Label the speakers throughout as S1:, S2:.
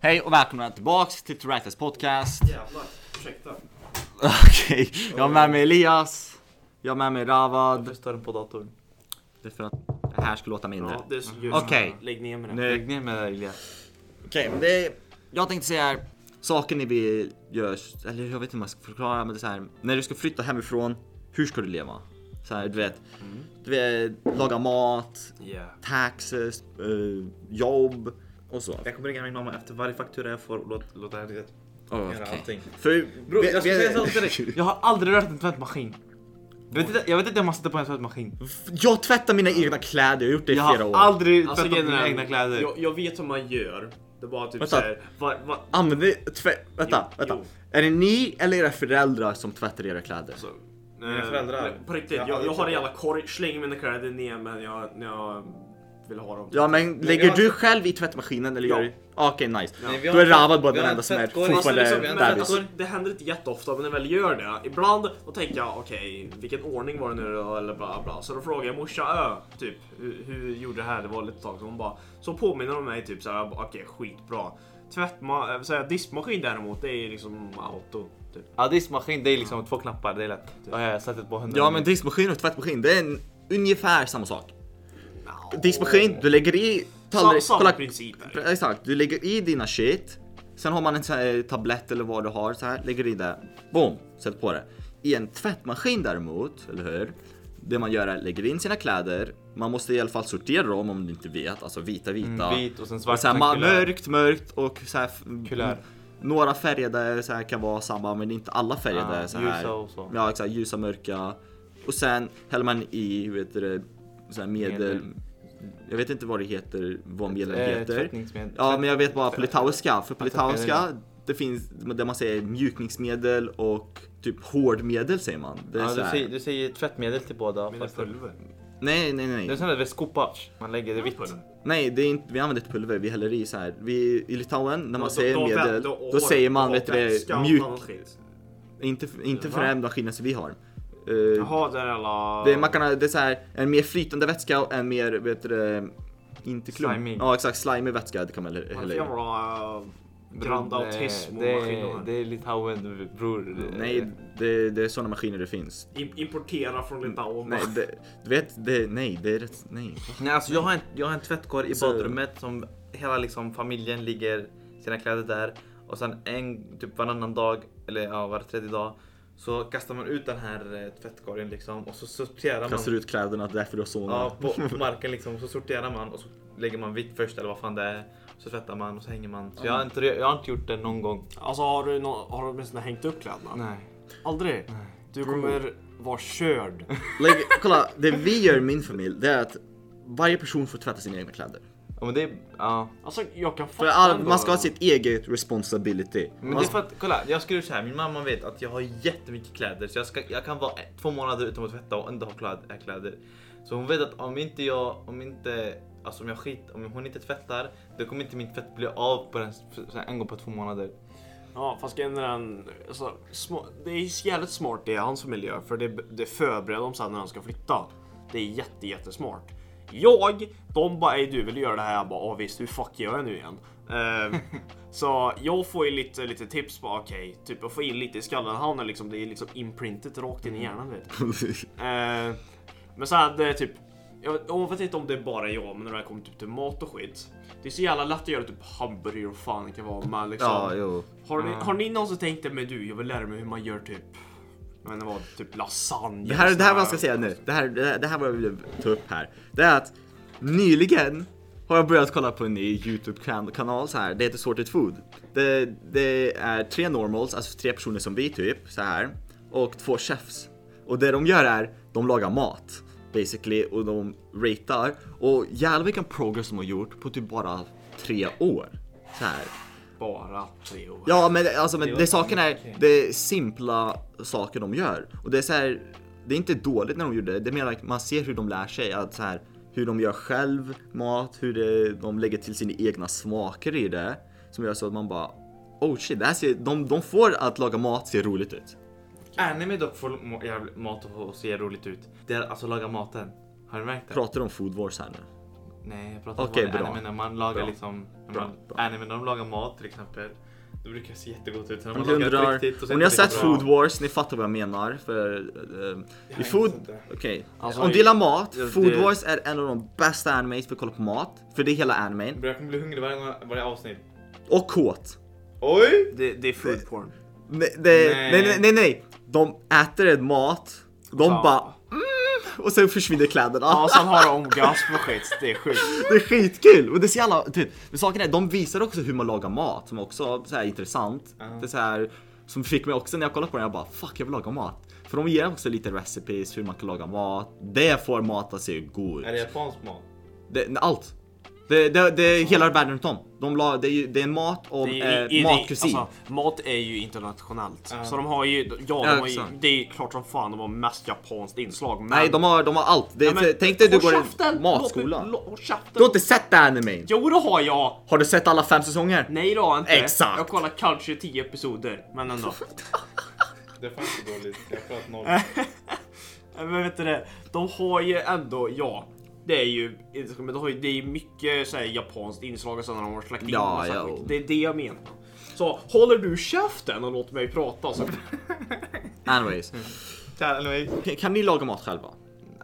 S1: Hej och välkomna tillbaks till Tractors podcast.
S2: Jävlar, ursäkta.
S1: Okej, jag har med mig Elias. Jag har med mig Ravad.
S3: Varför står den på datorn?
S1: Det är för att det här ska låta mindre.
S2: Ja, det är just,
S1: Okej.
S2: Lägg ner med det.
S3: Lägg ner med det Elias.
S1: Okej, men det Jag tänkte säga här, saker ni vill göra, eller jag vet inte hur man ska förklara, men det är så här. När du ska flytta hemifrån, hur ska du leva? Så här, du vet,
S3: Mm.
S1: du vet, laga mat,
S2: Yeah.
S1: taxes, eh, jobb och så.
S3: Jag kommer ringa min mamma efter varje faktura jag får och låt- låta henne göra
S1: Oh,
S3: allting.
S1: För,
S3: Bror,
S1: vi-
S3: jag ska
S1: vi-
S3: säga en sak till dig. Jag har aldrig rört en tvättmaskin. Jag vet inte, jag vet inte hur man sätter på en tvättmaskin.
S1: Jag tvättar mina egna kläder, jag har gjort det i
S3: Jag
S1: flera
S3: har
S1: år.
S3: aldrig
S2: Alltså,
S3: tvättat mina
S2: generellt,
S3: egna kläder.
S2: Jag, jag vet hur man gör. Det var typ
S1: Typ. Vänta.
S2: såhär, va, va,
S1: Använder, tvä- vänta,
S2: Jo,
S1: vänta.
S2: jo.
S1: Är det ni eller era föräldrar som tvättar era kläder?
S2: alltså,
S3: Mina
S2: eh,
S3: föräldrar.
S2: På riktigt,
S3: Jag har
S2: jag, jag,
S3: aldrig
S2: har en
S3: sett
S2: jävla korg, slänger mina kläder ner men jag, när jag vill ha dem.
S1: Ja men lägger
S3: jag-
S1: du själv i tvättmaskinen eller
S2: Ja.
S1: gör du? Ah, Okej nice.
S2: Ja. Nej,
S3: vi har
S1: Då är
S3: en tvätt-
S1: Ravad bara
S3: vi
S1: den
S3: har en
S1: enda som är
S3: tvättkorg.
S2: Alltså,
S1: fortfarande
S2: liksom,
S1: bebis.
S2: men, alltså, det händer inte jätteofta men när jag väl gör det, ibland då tänker jag okej vilken ordning var det nu då eller bla bla. Så då frågar jag morsa ö, typ hur, hur gjorde det här? Det var lite tag sedan. Hon bara, så påminner hon mig typ såhär, okej skitbra. Tvättma, äh, så här, diskmaskin däremot det är ju liksom auto. Typ.
S3: Ja, diskmaskin det är liksom två knappar, det är lätt. Ja, jag har satt det på hundra
S1: ja men diskmaskin och tvättmaskin det är en, ungefär samma sak. Diskmaskin, du lägger i
S2: Sam,
S1: tallrik,
S2: samma
S1: kolla-
S2: princip. Här.
S1: Pre- Exakt, du lägger i dina shit. Sen har man en sån här eh, tablett eller vad du har så här, lägger i det. Boom, sätter på det. I en tvättmaskin däremot, eller hur? Det man gör är lägger in sina kläder. Man måste i alla fall sortera dem om du inte vet, alltså vita vita.
S3: Mm, vit och sen svart
S1: så här,
S3: och sen
S1: ma-
S3: kulör.
S1: mörkt mörkt och så här. f-
S3: Kulör.
S1: Några färgade så här kan vara samma men inte alla färgade
S3: Ah,
S1: så här.
S3: ljusa och så.
S1: Ja exakt, ljusa mörka. Och sen häller man i, hur heter det, så här medel.
S3: Medel.
S1: Jag vet inte vad det heter, vad medlet
S3: Eh,
S1: heter.
S3: tvättningsmedel.
S1: Ja, men jag vet bara på litauiska. För på
S3: Alltså,
S1: litauiska, det finns det man säger mjukningsmedel och typ hårdmedel säger man. Det är
S3: Ja,
S1: så
S3: du,
S1: här.
S3: säger, du säger tvättmedel till båda.
S2: Mina
S3: Fast det,
S2: pulver.
S1: Nej, nej, nej.
S3: det är
S1: nej.
S3: sån där skopac. Man lägger det vitt.
S2: Pulver.
S1: Nej, det är inte, vi använder ett pulver, vi häller i så här. Vi, I Litauen, när man
S2: Då-
S1: säger
S2: då-
S1: medel,
S2: då-
S1: då,
S2: då-
S1: säger man
S2: då-
S1: vet du
S2: vätska
S1: det,
S2: och
S1: mjuk.
S2: annat skit.
S1: Inte, inte för
S2: Va?
S1: den maskinen som vi har. Eh,
S2: Jaha, det är alla...
S1: det, är- man kan, ha- det är så här, en mer flytande vätska och en mer, vet du det, inte klump.
S3: Slimig.
S1: Ja exakt, slimig vätska det kan man hälla hälla i.
S2: Jävla eh, Grand
S3: Bror,
S2: Autism och
S3: det,
S2: maskiner.
S3: det är Litauen bror.
S1: Nej, det, det är sådana maskiner det finns.
S2: Im- Importera från Litauen.
S1: Nej, det, du vet, det, nej, det är rätt, nej.
S3: Nej, alltså jag har en, jag har en tvättkorg i
S1: Så-
S3: badrummet som hela liksom familjen ligger sina kläder där. Och sen en, typ varannan dag, eller ja, var tredje dag, så kastar man ut den här eh, tvättkorgen liksom och så sorterar
S1: Kastar
S3: man.
S1: ut kläderna, det är därför du har såna.
S3: Ja, på, på marken liksom. Så sorterar man och så lägger man vitt först eller vad fan det är. Så tvättar man och så hänger man. Så jag har inte, jag har inte gjort det någon gång.
S2: Alltså har du, no- har du åtminstone hängt upp kläderna?
S3: Nej.
S2: Aldrig? Du kommer vara körd.
S1: Lägg, kolla, det vi gör i min familj det är att varje person får tvätta sina egna kläder.
S3: Ja, men det är, ja.
S2: Alltså jag kan
S1: För
S2: fatta
S1: all,
S2: ändå.
S1: man ska ha sitt eget responsibility.
S3: Men
S1: Man
S3: det är
S1: ska,
S3: för att, kolla, jag skulle så här, min mamma vet att jag har jättemycket kläder så jag, ska, jag kan vara ett- två månader utan att tvätta och ändå ha kläd- eh, kläder. Så hon vet att om inte jag, om inte, alltså om jag skit, om hon inte tvättar, då kommer inte min tvätt bli av på den, så här, en gång på två månader.
S2: Ja fast grejen är den, alltså, små, det är jävligt smart det hans familj gör för det, det förbereder de sen när de ska flytta. Det är jätte jättesmart. Jag, de bara ej du vill göra det här, jag bara "Åh, visst hur fuck gör jag nu igen? Ehm, så jag får ju lite, lite tips på okej, typ att få in lite i skallen, han är liksom, det är liksom imprintet rakt in i hjärnan du vet. Eh, men så hade typ, jag vet, jag vet inte om det är bara jag, men när det här kommer typ till mat och skit. Det är så jävla lätt att göra typ hamburgare och fan det kan vara med liksom.
S1: ja, jo.
S2: har, ni, har ni någonsin tänkt det men du, jag vill lära mig hur man gör typ, jag vet inte vad, typ lasagne?
S1: Det här är
S2: och
S1: det här
S2: sådär.
S1: vad jag ska säga nu. Det här, det här, det här vad jag vill ta upp här. Det är att nyligen har jag börjat kolla på en ny YouTube-kanal så här. Det heter Sorted Food. Det, det är tre normals, alltså tre personer som vi typ, så här. Och två chefs. Och det de gör är, de lagar mat. Basically, och de ratear. Och jävlar vilken progress de har gjort på typ bara tre år. Så här.
S2: Bara tre år.
S1: Ja men alltså men
S3: Det
S1: det,
S3: var
S1: saken är,
S3: mycket.
S1: det är simpla saker de gör. Och det är så här, det är inte dåligt när de gjorde det, det är mer att man ser hur de lär sig att så här, hur de gör själv mat, hur det, de lägger till sina egna smaker i det. Som gör så att man bara, oh shit, det här ser, de, de får att laga mat ser roligt ut.
S3: Anime dock får må- jävla- mat och och ser roligt ut. Det är alltså laga maten. Har du märkt det?
S1: Pratar om food wars här nu.
S3: Nej, jag pratar
S1: Okej,
S3: om vanlig
S1: bra.
S3: anime när man lagar
S1: Bra.
S3: liksom... När
S1: Bra,
S3: man,
S1: bra.
S3: Anime när de lagar mat till exempel. Det brukar se jättegott ut. Sen När
S1: Om
S3: man
S1: ni
S3: lagar det på
S1: undrar,
S3: riktigt och sen
S1: om ni har
S3: inte
S1: sett
S3: lika
S1: Food
S3: bra.
S1: Wars, ni fattar vad jag menar. För, eh, i food, okej.
S2: Alltså,
S1: om du gillar mat,
S3: det-
S1: Food Wars är en av de bästa animes för att kolla på mat. För det är hela animen.
S3: Jag kommer bli hungrig varje, gång- varje avsnitt.
S1: Och kåt.
S3: Oj!
S2: Det, det är food porn.
S1: Nej, det,
S3: Nej.
S1: nej. nej, nej, nej. De äter en mat, de
S2: Ja.
S1: bara mm, och sen försvinner kläderna.
S2: Ja, sen har de orgasm och skit. Det är sjukt.
S1: Det är skitkul! Och det är så jävla, typ, men saken är, de visar också hur man lagar mat som också så här, är intressant.
S3: Ja.
S1: Det är så här, som fick mig också när jag kollade på den, jag bara fuck jag vill laga mat. För de ger också lite recipes hur man kan laga mat. Det får mat att se god ut.
S3: Är det japansk mat?
S1: Det, allt! Det, det, det är hela världen runt om. De la, det, är ju, det är en mat om
S2: Det är, ju-
S1: eh,
S2: i-
S1: matkusin.
S2: alltså, mat är ju internationellt.
S3: Ja.
S2: Så de har ju, ja, de har ju,
S1: exakt.
S2: det är klart som fan de har mest japanskt inslag. Men...
S1: Nej, de har, de har allt. Det,
S2: Ja, men-
S1: tänk dig du
S2: Håll
S1: går i
S2: käften! Låt
S1: matskolan.
S2: mig- lå- Håll käften!
S1: Du har inte sett det här animen?
S2: Jo, det har jag!
S1: Har du sett alla fem säsonger?
S2: Nej, det har jag inte.
S1: Exakt.
S2: Jag kollar kanske 10 episoder, men ändå.
S3: Det är fan inte dåligt. Jag pratar noll.
S2: Nej, Men vet du det, de har ju ändå, ja. Det är ju, men de har ju, det är ju mycket så här, japanskt inslag och sen när de har släckt in
S1: Ja,
S2: massa
S1: ja.
S2: skit. Det är det jag menar. Så håller du käften och låter mig prata så.
S1: Anyways, Kan- kan ni laga mat själva?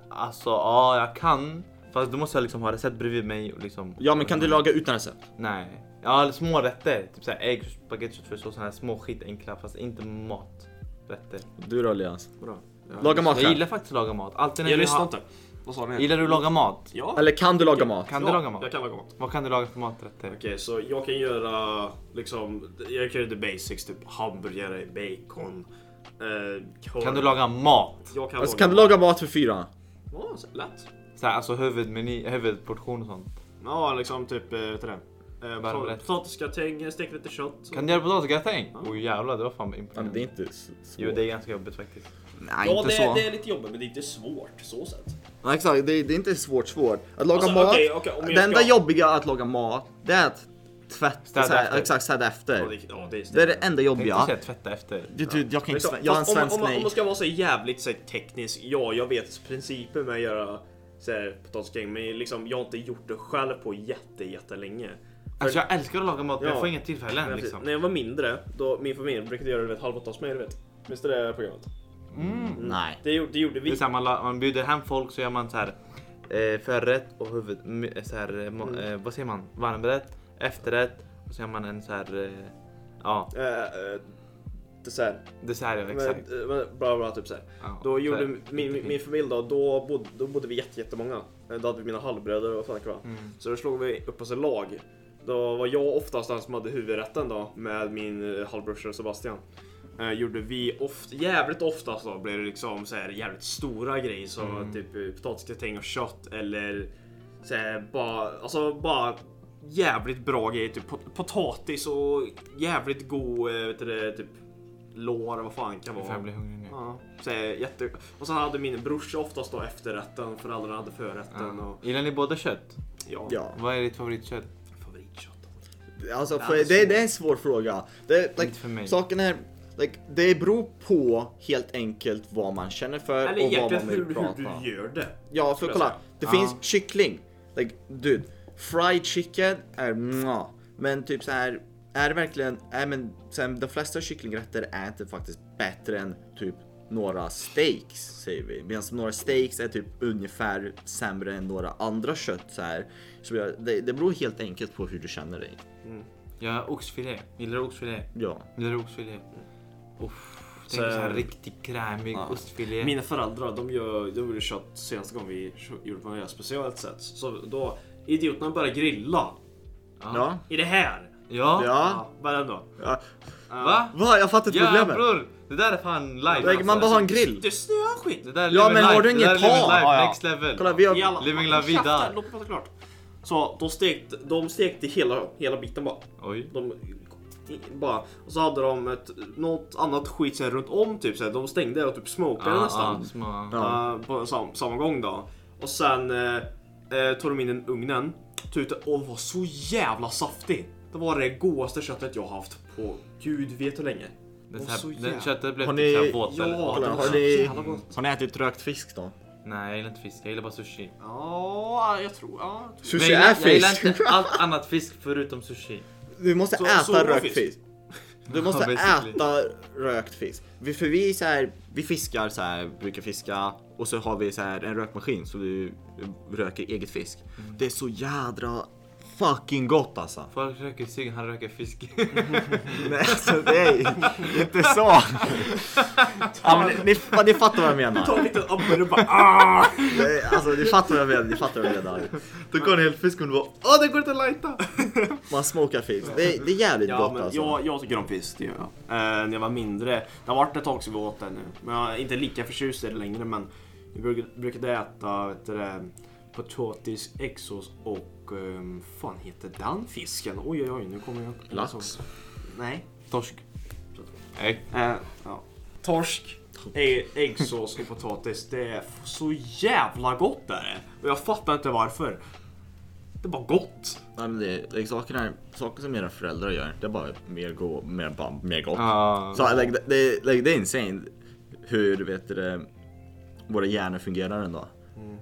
S3: Alltså, ja, jag kan. Fast då måste jag liksom ha recept bredvid mig och liksom...
S1: Ja men kan du laga utan recept?
S3: Nej. Ja, eller små rätter. Typ såhär ägg, spagetti, köttfärssås, sådana här små skitenkla fast inte maträtter.
S1: Du då Elias?
S2: Bra.
S1: Laga mat
S3: Jag
S1: själv?
S3: gillar faktiskt att laga mat. Alltid när
S2: Jag
S3: vi
S2: lyssnar
S3: har-
S2: inte. Vad sa ni?
S3: Gillar du att laga mat?
S2: Ja.
S1: Eller kan du laga mat?
S3: Kan
S2: ja,
S3: du laga mat?
S2: Jag kan laga mat.
S3: Vad kan du laga för maträtter?
S2: Okej, så jag kan göra liksom, jag kan göra the basics, typ hamburgare, bacon. Eh, korv.
S3: Kan du laga mat?
S2: Jag kan
S1: Alltså
S2: laga
S1: kan du laga mat för fyra?
S2: mat. Ja, så lätt.
S3: Så här, alltså huvudmeny, huvudportion och sånt.
S2: Ja, liksom typ, eh, vet du det? Eh,
S3: Varmrätt.
S2: Potatisgratäng, stek lite kött.
S3: Kan du göra potatisgratäng? Oj jävlar, det var fan imponerande.
S1: inte
S3: Jo, det är ganska jobbigt faktiskt.
S1: Nej
S2: Ja,
S1: inte
S2: det,
S1: så.
S2: är- det är lite jobbigt, men det är inte svårt så sett.
S1: Nej, exakt, det är, det är inte svårt svårt. Att laga
S2: Alltså,
S1: mat,
S2: okej, okej, om jag
S1: det enda
S2: ska-
S1: jobbiga att laga mat, det är att tvätta,
S3: Städa
S1: så här,
S3: efter.
S1: exakt städa efter.
S2: Ja, det, ja, det är Liksom,
S1: det är det enda
S3: Tänkte
S1: jobbiga.
S3: säga tvätta efter.
S1: Du, du, jag kan inte,
S2: Fast
S1: sve- jag är en
S2: om man-
S1: svensk
S2: om, man- om
S1: nej.
S2: man ska vara så jävligt så här, teknisk, ja jag vet principen med att göra så här, potatisgräng men liksom, jag har inte gjort det själv på jätte, jättelänge.
S3: Alltså jag älskar att laga mat men jag
S2: Ja.
S3: får inga tillfällen
S2: Men När
S3: liksom.
S2: jag var mindre, då min familj brukade göra du vet, halv åtta hos mig, du vet. Minns du det programmet?
S1: Nej.
S2: Det, gjorde- det gjorde
S3: Det
S2: vi.
S3: är så här, man, la- man bjuder hem folk så gör man så här eh, förrätt och huvud... m- eh, Så här, eh, ma-
S2: Mm.
S3: eh, vad säger man? Varmrätt, efterrätt och så gör man en så här... Eh, ja,
S2: Eh, eh, Dessert.
S3: dessert ja,
S2: Men,
S3: exakt.
S2: eh, men Bra, bra, typ så här.
S3: Ja,
S2: Då
S3: så
S2: gjorde
S3: här,
S2: min, min, min
S3: jättefint.
S2: familj då, då bodde, då bodde vi jätte- jättemånga. Eh, Då hade vi mina halvbröder och sådana mm. Så då slog vi upp oss i lag. Då var jag oftast den som hade huvudrätten då med min eh, halvbrorsa Sebastian. Eh, gjorde vi oft, jävligt oftast då blev det liksom så här jävligt stora grejer som
S3: Mm.
S2: typ eh, potatisgratäng och kött eller så här, bara, alltså bara jävligt bra grejer. Typ pot- potatis och jävligt god, eh, vet du det, typ lår eller vad fan det kan
S3: Fan, Jag
S2: vara.
S3: blir hungrig nu.
S2: Ja, så är jätte... Och sen hade min brorsa oftast då efterrätten, föräldrarna hade förrätten
S3: Ja.
S2: och
S3: Gillar ni båda kött?
S2: ja.
S1: Ja.
S3: Vad är ditt favoritkött?
S2: Favoritkött.
S1: Alltså,
S2: Ja,
S1: för,
S2: det är
S1: det,
S2: svårt.
S1: det är en svår fråga. Det, like,
S3: Inte för mig.
S1: Saken är, like, det beror på helt enkelt vad man känner för och
S2: Eller
S1: vad man
S2: egentligen
S1: vill
S2: hur,
S1: prata.
S2: hur du gör det.
S1: Ja, för
S2: skulle jag
S1: kolla.
S2: säga.
S1: Det
S3: Ja.
S1: finns kyckling. Like, dude, fried chicken är mwah. Men typ så här, är det verkligen, nej men sen, de flesta kycklingrätter är inte faktiskt bättre än typ några steaks säger vi. Medan några steaks är typ ungefär sämre än några andra kött så här. Så jag, det, det beror helt enkelt på hur du känner dig.
S3: Jag har oxfilé. Gillar du oxfilé?
S1: Ja.
S3: Gillar du oxfilé? Uff, tänk
S2: Så-
S3: så här riktigt krämig
S1: Ja.
S3: ostfilé.
S2: Mina föräldrar de, gör, de gjorde kött senaste gången vi gjorde på något speciellt sätt. Så då, idioterna började grilla.
S1: Ja.
S2: I det här!
S3: Ja.
S1: Ja.
S2: Vad är det då?
S1: ja.
S3: Va?
S1: Va? Jag fattar inte problemet.
S3: Jävlar! Det där är fan alltså. live.
S1: Like, man bara har en grill.
S2: Alltså, Det snöar skit!
S3: Det där är
S1: Ja,
S3: living
S1: men
S3: life.
S1: har du
S3: Det
S1: ingen
S3: där är living
S1: par?
S3: life,
S1: Ja, ja.
S3: Next level.
S1: Kolla, vi har-
S2: I alla-
S3: Living la vida.
S2: Käften, Låt mig prata klart. Så de stekte, de stekte hela, hela biten bara.
S3: Oj.
S2: De bara, och så hade de ett, något annat skit så här runt om typ så här, De stängde och typ smokade
S3: Ja,
S2: nästan.
S3: ja, Ah, små-
S1: Ja.
S2: Eh, på sam, samma gång då. Och sen eh, eh, tog de in den ugnen. Tog ut det och var så jävla saftig. Det var det godaste köttet jag haft på gud vet hur länge.
S3: Det
S2: Och
S3: så här-
S2: så
S3: det
S2: jävla-
S3: Köttet blev
S1: Har
S3: typ
S1: ni-
S3: såhär våt.
S2: Ja,
S3: eller?
S1: Kolla,
S2: det var
S1: har
S2: så
S1: ni-
S2: jävla gott.
S1: Har ni ätit rökt fisk då?
S3: Nej, jag gillar inte fisk. Jag gillar bara sushi.
S2: Ja, jag tror... Ja, jag tror.
S3: Men
S1: Sushi
S3: jag, gillar,
S1: är
S3: jag gillar
S1: fisk!
S3: inte allt annat fisk förutom sushi.
S1: Du måste
S2: Så-
S1: äta
S2: så-
S1: rökt
S2: fisk.
S1: fisk. Du måste
S3: basically.
S1: äta rökt fisk. Vi, för vi, så här, vi fiskar så här, brukar fiska och så har vi så här, en rökmaskin så du röker eget fisk.
S2: Mm.
S1: Det är så jädra fucking gott alltså.
S3: Folk röker cigg, han röker fisk.
S1: Nej, alltså nej, inte så. Ja, men, ni, ni, ni fattar vad jag
S2: Ta
S1: menar.
S2: en liten abborre och bara ah!
S1: Nej, Alltså, ni fattar vad jag menar. Ni fattar vad jag menar.
S3: Då går en hel fisk och bara Åh, det går inte att lighta!
S1: Man smokar fisk. Det, det är jävligt
S2: Ja,
S1: gott
S2: men
S1: alltså.
S2: jag, jag tycker om fisk, det gör jag. Eh, när jag var mindre. Det har varit ett tag sedan vi åt det nu. Men jag är inte lika förtjust i det längre. Men vi bruk- brukade äta vet du, det, potatis, exos och... Um, fan heter den fisken? Oj, oj, oj, nu kommer jag...
S1: Lax.
S2: Nej.
S3: Torsk. Nej.
S2: Eh, ja. Torsk, ägg, äggsås och potatis. Det är f- så jävla gott är det. Och jag fattar inte varför. Det är bara gott.
S1: Nej, men det, det är saker, här, saker som era föräldrar gör, det är bara mer, go, mer, bara, mer gott.
S3: Ah.
S1: Så, like, det- det, like, det är insane hur vet du, det, våra hjärnor fungerar ändå.
S3: Mm.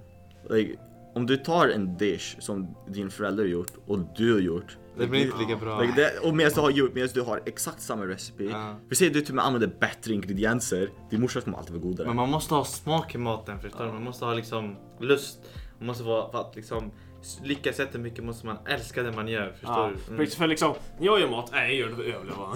S1: Like, om du tar en dish som din förälder gjort och du har gjort.
S3: Det blir inte lika bra.
S1: Like det, och medan du har gjort, medan du har exakt samma recipe.
S3: Ja.
S1: Vi säger att du till och med använder bättre ingredienser. Din morsa kommer alltid vara godare.
S3: Men man måste ha smak i maten, förstår du? Man måste ha liksom lust. Man måste vara, för att liksom lyckas jättemycket måste man älska det man gör, förstår
S2: Ja,
S3: du? Mm.
S2: för- För liksom, när jag gör mat, nej jag gör det för att överleva.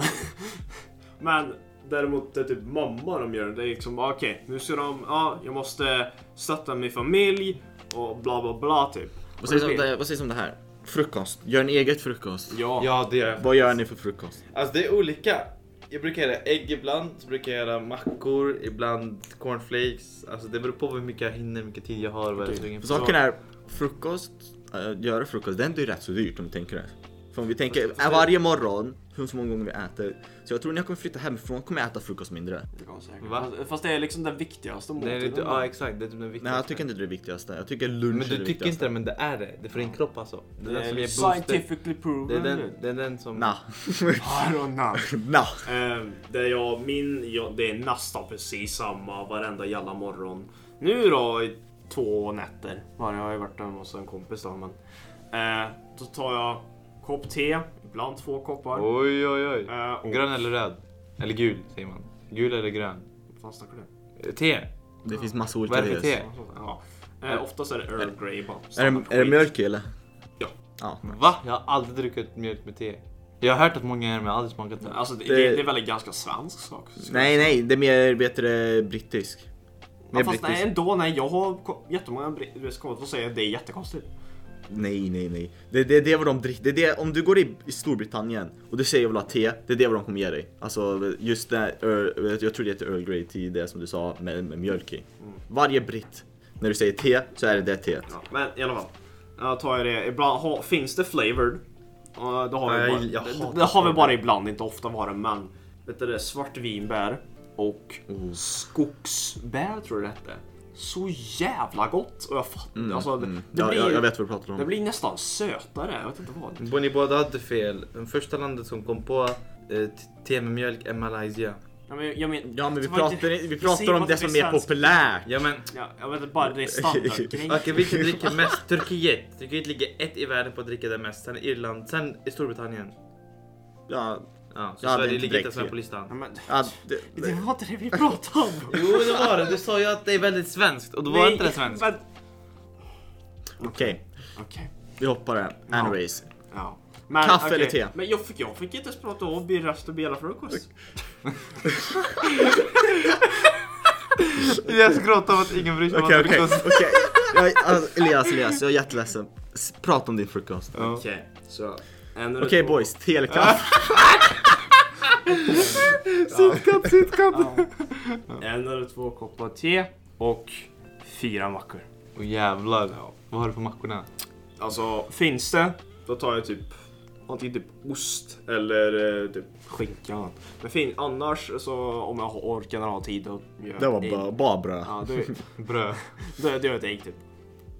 S2: Men däremot det är typ mamma de gör det. Det är liksom, bara, okej nu ska de, ja jag måste stötta min familj och bla bla bla typ.
S1: vad, sägs om det, vad sägs om det här? Frukost. Gör en eget frukost.
S2: Ja.
S3: Ja, det gör jag.
S1: Vad gör ni för frukost?
S3: Alltså det är olika. Jag brukar göra ägg ibland, så brukar jag göra mackor, ibland cornflakes. Alltså det beror på hur mycket jag hinner, hur mycket tid jag har. vad jag är sugen på.
S1: För saken är, frukost, äh, göra frukost, det är ändå rätt så dyrt om du tänker det. För om vi tänker äh, varje morgon, hur så många gånger vi äter. Så jag tror när jag kommer flytta hemifrån kommer jag äta frukost mindre.
S2: Ja, säkert.
S3: Va?
S2: Fast- Fast det är liksom den viktigaste
S3: Nej, det,
S2: måltiden.
S3: är- ja exakt, det är typ den viktigaste.
S1: Nej jag tycker inte det är det viktigaste. Jag tycker lunch
S3: Men
S1: är det
S3: du tycker inte
S1: viktigaste.
S3: det, men det är det. Det är för din kropp alltså. Det är den som ger booster.
S2: scientifically proven.
S3: Det är den, det är den som...
S1: liksom Nah.
S2: I don't know.
S1: nah.
S2: Eh, det, jag, min, jag, det är nästan precis samma varenda jävla morgon. Nu då i två nätter. Bara, jag har ju varit hemma hos en kompis då. Men, eh, då tar jag kopp te, ibland två koppar.
S3: Oj oj oj.
S1: Äh,
S2: Eh,
S1: oh.
S2: och,
S3: Grön eller röd? Eller gul säger man. Gul eller grön?
S2: Fan, snackar du?
S3: Eh, Te?
S1: Det finns massa olika
S3: Vad är det för
S1: te.
S3: te?
S2: Ja. Eh, oftast är det Earl Grey bara.
S1: Är
S2: Standard
S1: det, är det
S2: skit.
S1: mjölk i, eller?
S2: Ja.
S1: Ja.
S3: Va? Jag har aldrig druckit mjölk med te. Jag har hört att många gör det men jag har aldrig smakat det.
S2: Alltså, det,
S1: Det-
S2: det, det är väl en ganska svensk sak. skulle
S1: Nej nej, det är mer bättre brittisk. Mer
S2: Ja, fast nej,
S1: brittisk.
S2: ändå. Nej, jag har ko- jättemånga brittiska kompisar som säger att det är jättekonstigt.
S1: Nej nej nej. Det, det, det är vad de dricker. Det, är det, om du går i, i Storbritannien och du säger jag vill ha te, det är det vad de kommer ge dig. Alltså just det, Earl- jag tror det heter Earl Grey tea, det som du sa med, med mjölk i.
S2: Mm.
S1: Varje britt, när du säger te så är det det teet.
S2: Ja, men i alla fall. Jag tar ju det. Ibland ha, finns det flavored. Och det har,
S3: Nej,
S2: vi bara,
S3: jag
S2: det,
S3: hatar
S2: det har vi
S3: flavored.
S2: bara ibland, inte ofta var det men. Vet du det? Svartvinbär och skogsbär tror jag det hette. Så jävla gott! Och jag fattar alltså, det,
S1: Mm.
S2: det,
S1: ja,
S2: blir,
S1: jag, jag vet vad du pratar om.
S2: det blir nästan sötare. Jag vet inte vad.
S3: Bo- Ni båda hade fel. Den första landet som kom på eh, te med mjölk är Malaysia.
S2: Ja men, jag men,
S1: Ja men vi
S2: det var inte-
S1: pratar, vi
S2: jag säger
S1: pratar om
S2: bara
S1: det
S2: att
S1: som
S2: vi
S1: är
S2: svenskar.
S1: populärt.
S3: Ja men
S2: Ja, jag vet inte, bara det är standardgrej.
S3: Okej, vilket dricker mest? Turkiet. Turkiet ligger ett i världen på att dricka det mest. Sen Irland, sen i Storbritannien.
S1: Ja,
S3: Ja, så
S1: Ja, det är
S3: Sverige
S1: inte
S3: ligger inte
S1: direkt
S3: ens med
S1: fel.
S3: på
S2: Ja,
S3: listan.
S2: men,
S1: ja, det,
S2: det var inte det vi pratade om!
S3: Jo, det var det. Du sa ju att det är väldigt svenskt och då var inte det svenskt.
S2: men-
S1: Okej,
S2: Okej.
S1: vi hoppar det. Anyways.
S2: Ja. Men,
S1: Kaffe
S2: okej.
S1: eller te?
S2: Men jag fick, jag fick inte ens prata om Birras och Bela frukost.
S3: Jag skrattar om att ingen bryr sig
S1: Okej okej, okej. Jag- alltså, Elias, Elias, jag är jätteledsen. S- Prata om din frukost.
S3: Ja.
S2: Okej, så. en eller
S1: Okej
S2: två.
S1: boys, te eller kaffe?
S3: Sitkat, sitkat.
S2: En eller två koppar te och fyra mackor.
S3: Åh jävlar. Vad har du på mackorna?
S2: Alltså, finns det, då tar jag typ antingen typ ost eller eh, typ skinka. eller något. Men fin, annars så om jag har- orkar och har tid att göra
S1: Det var
S2: ägg.
S1: bara, bara bröd.
S2: Ja, då,
S3: Bröd.
S2: då, då gör jag ett ägg typ.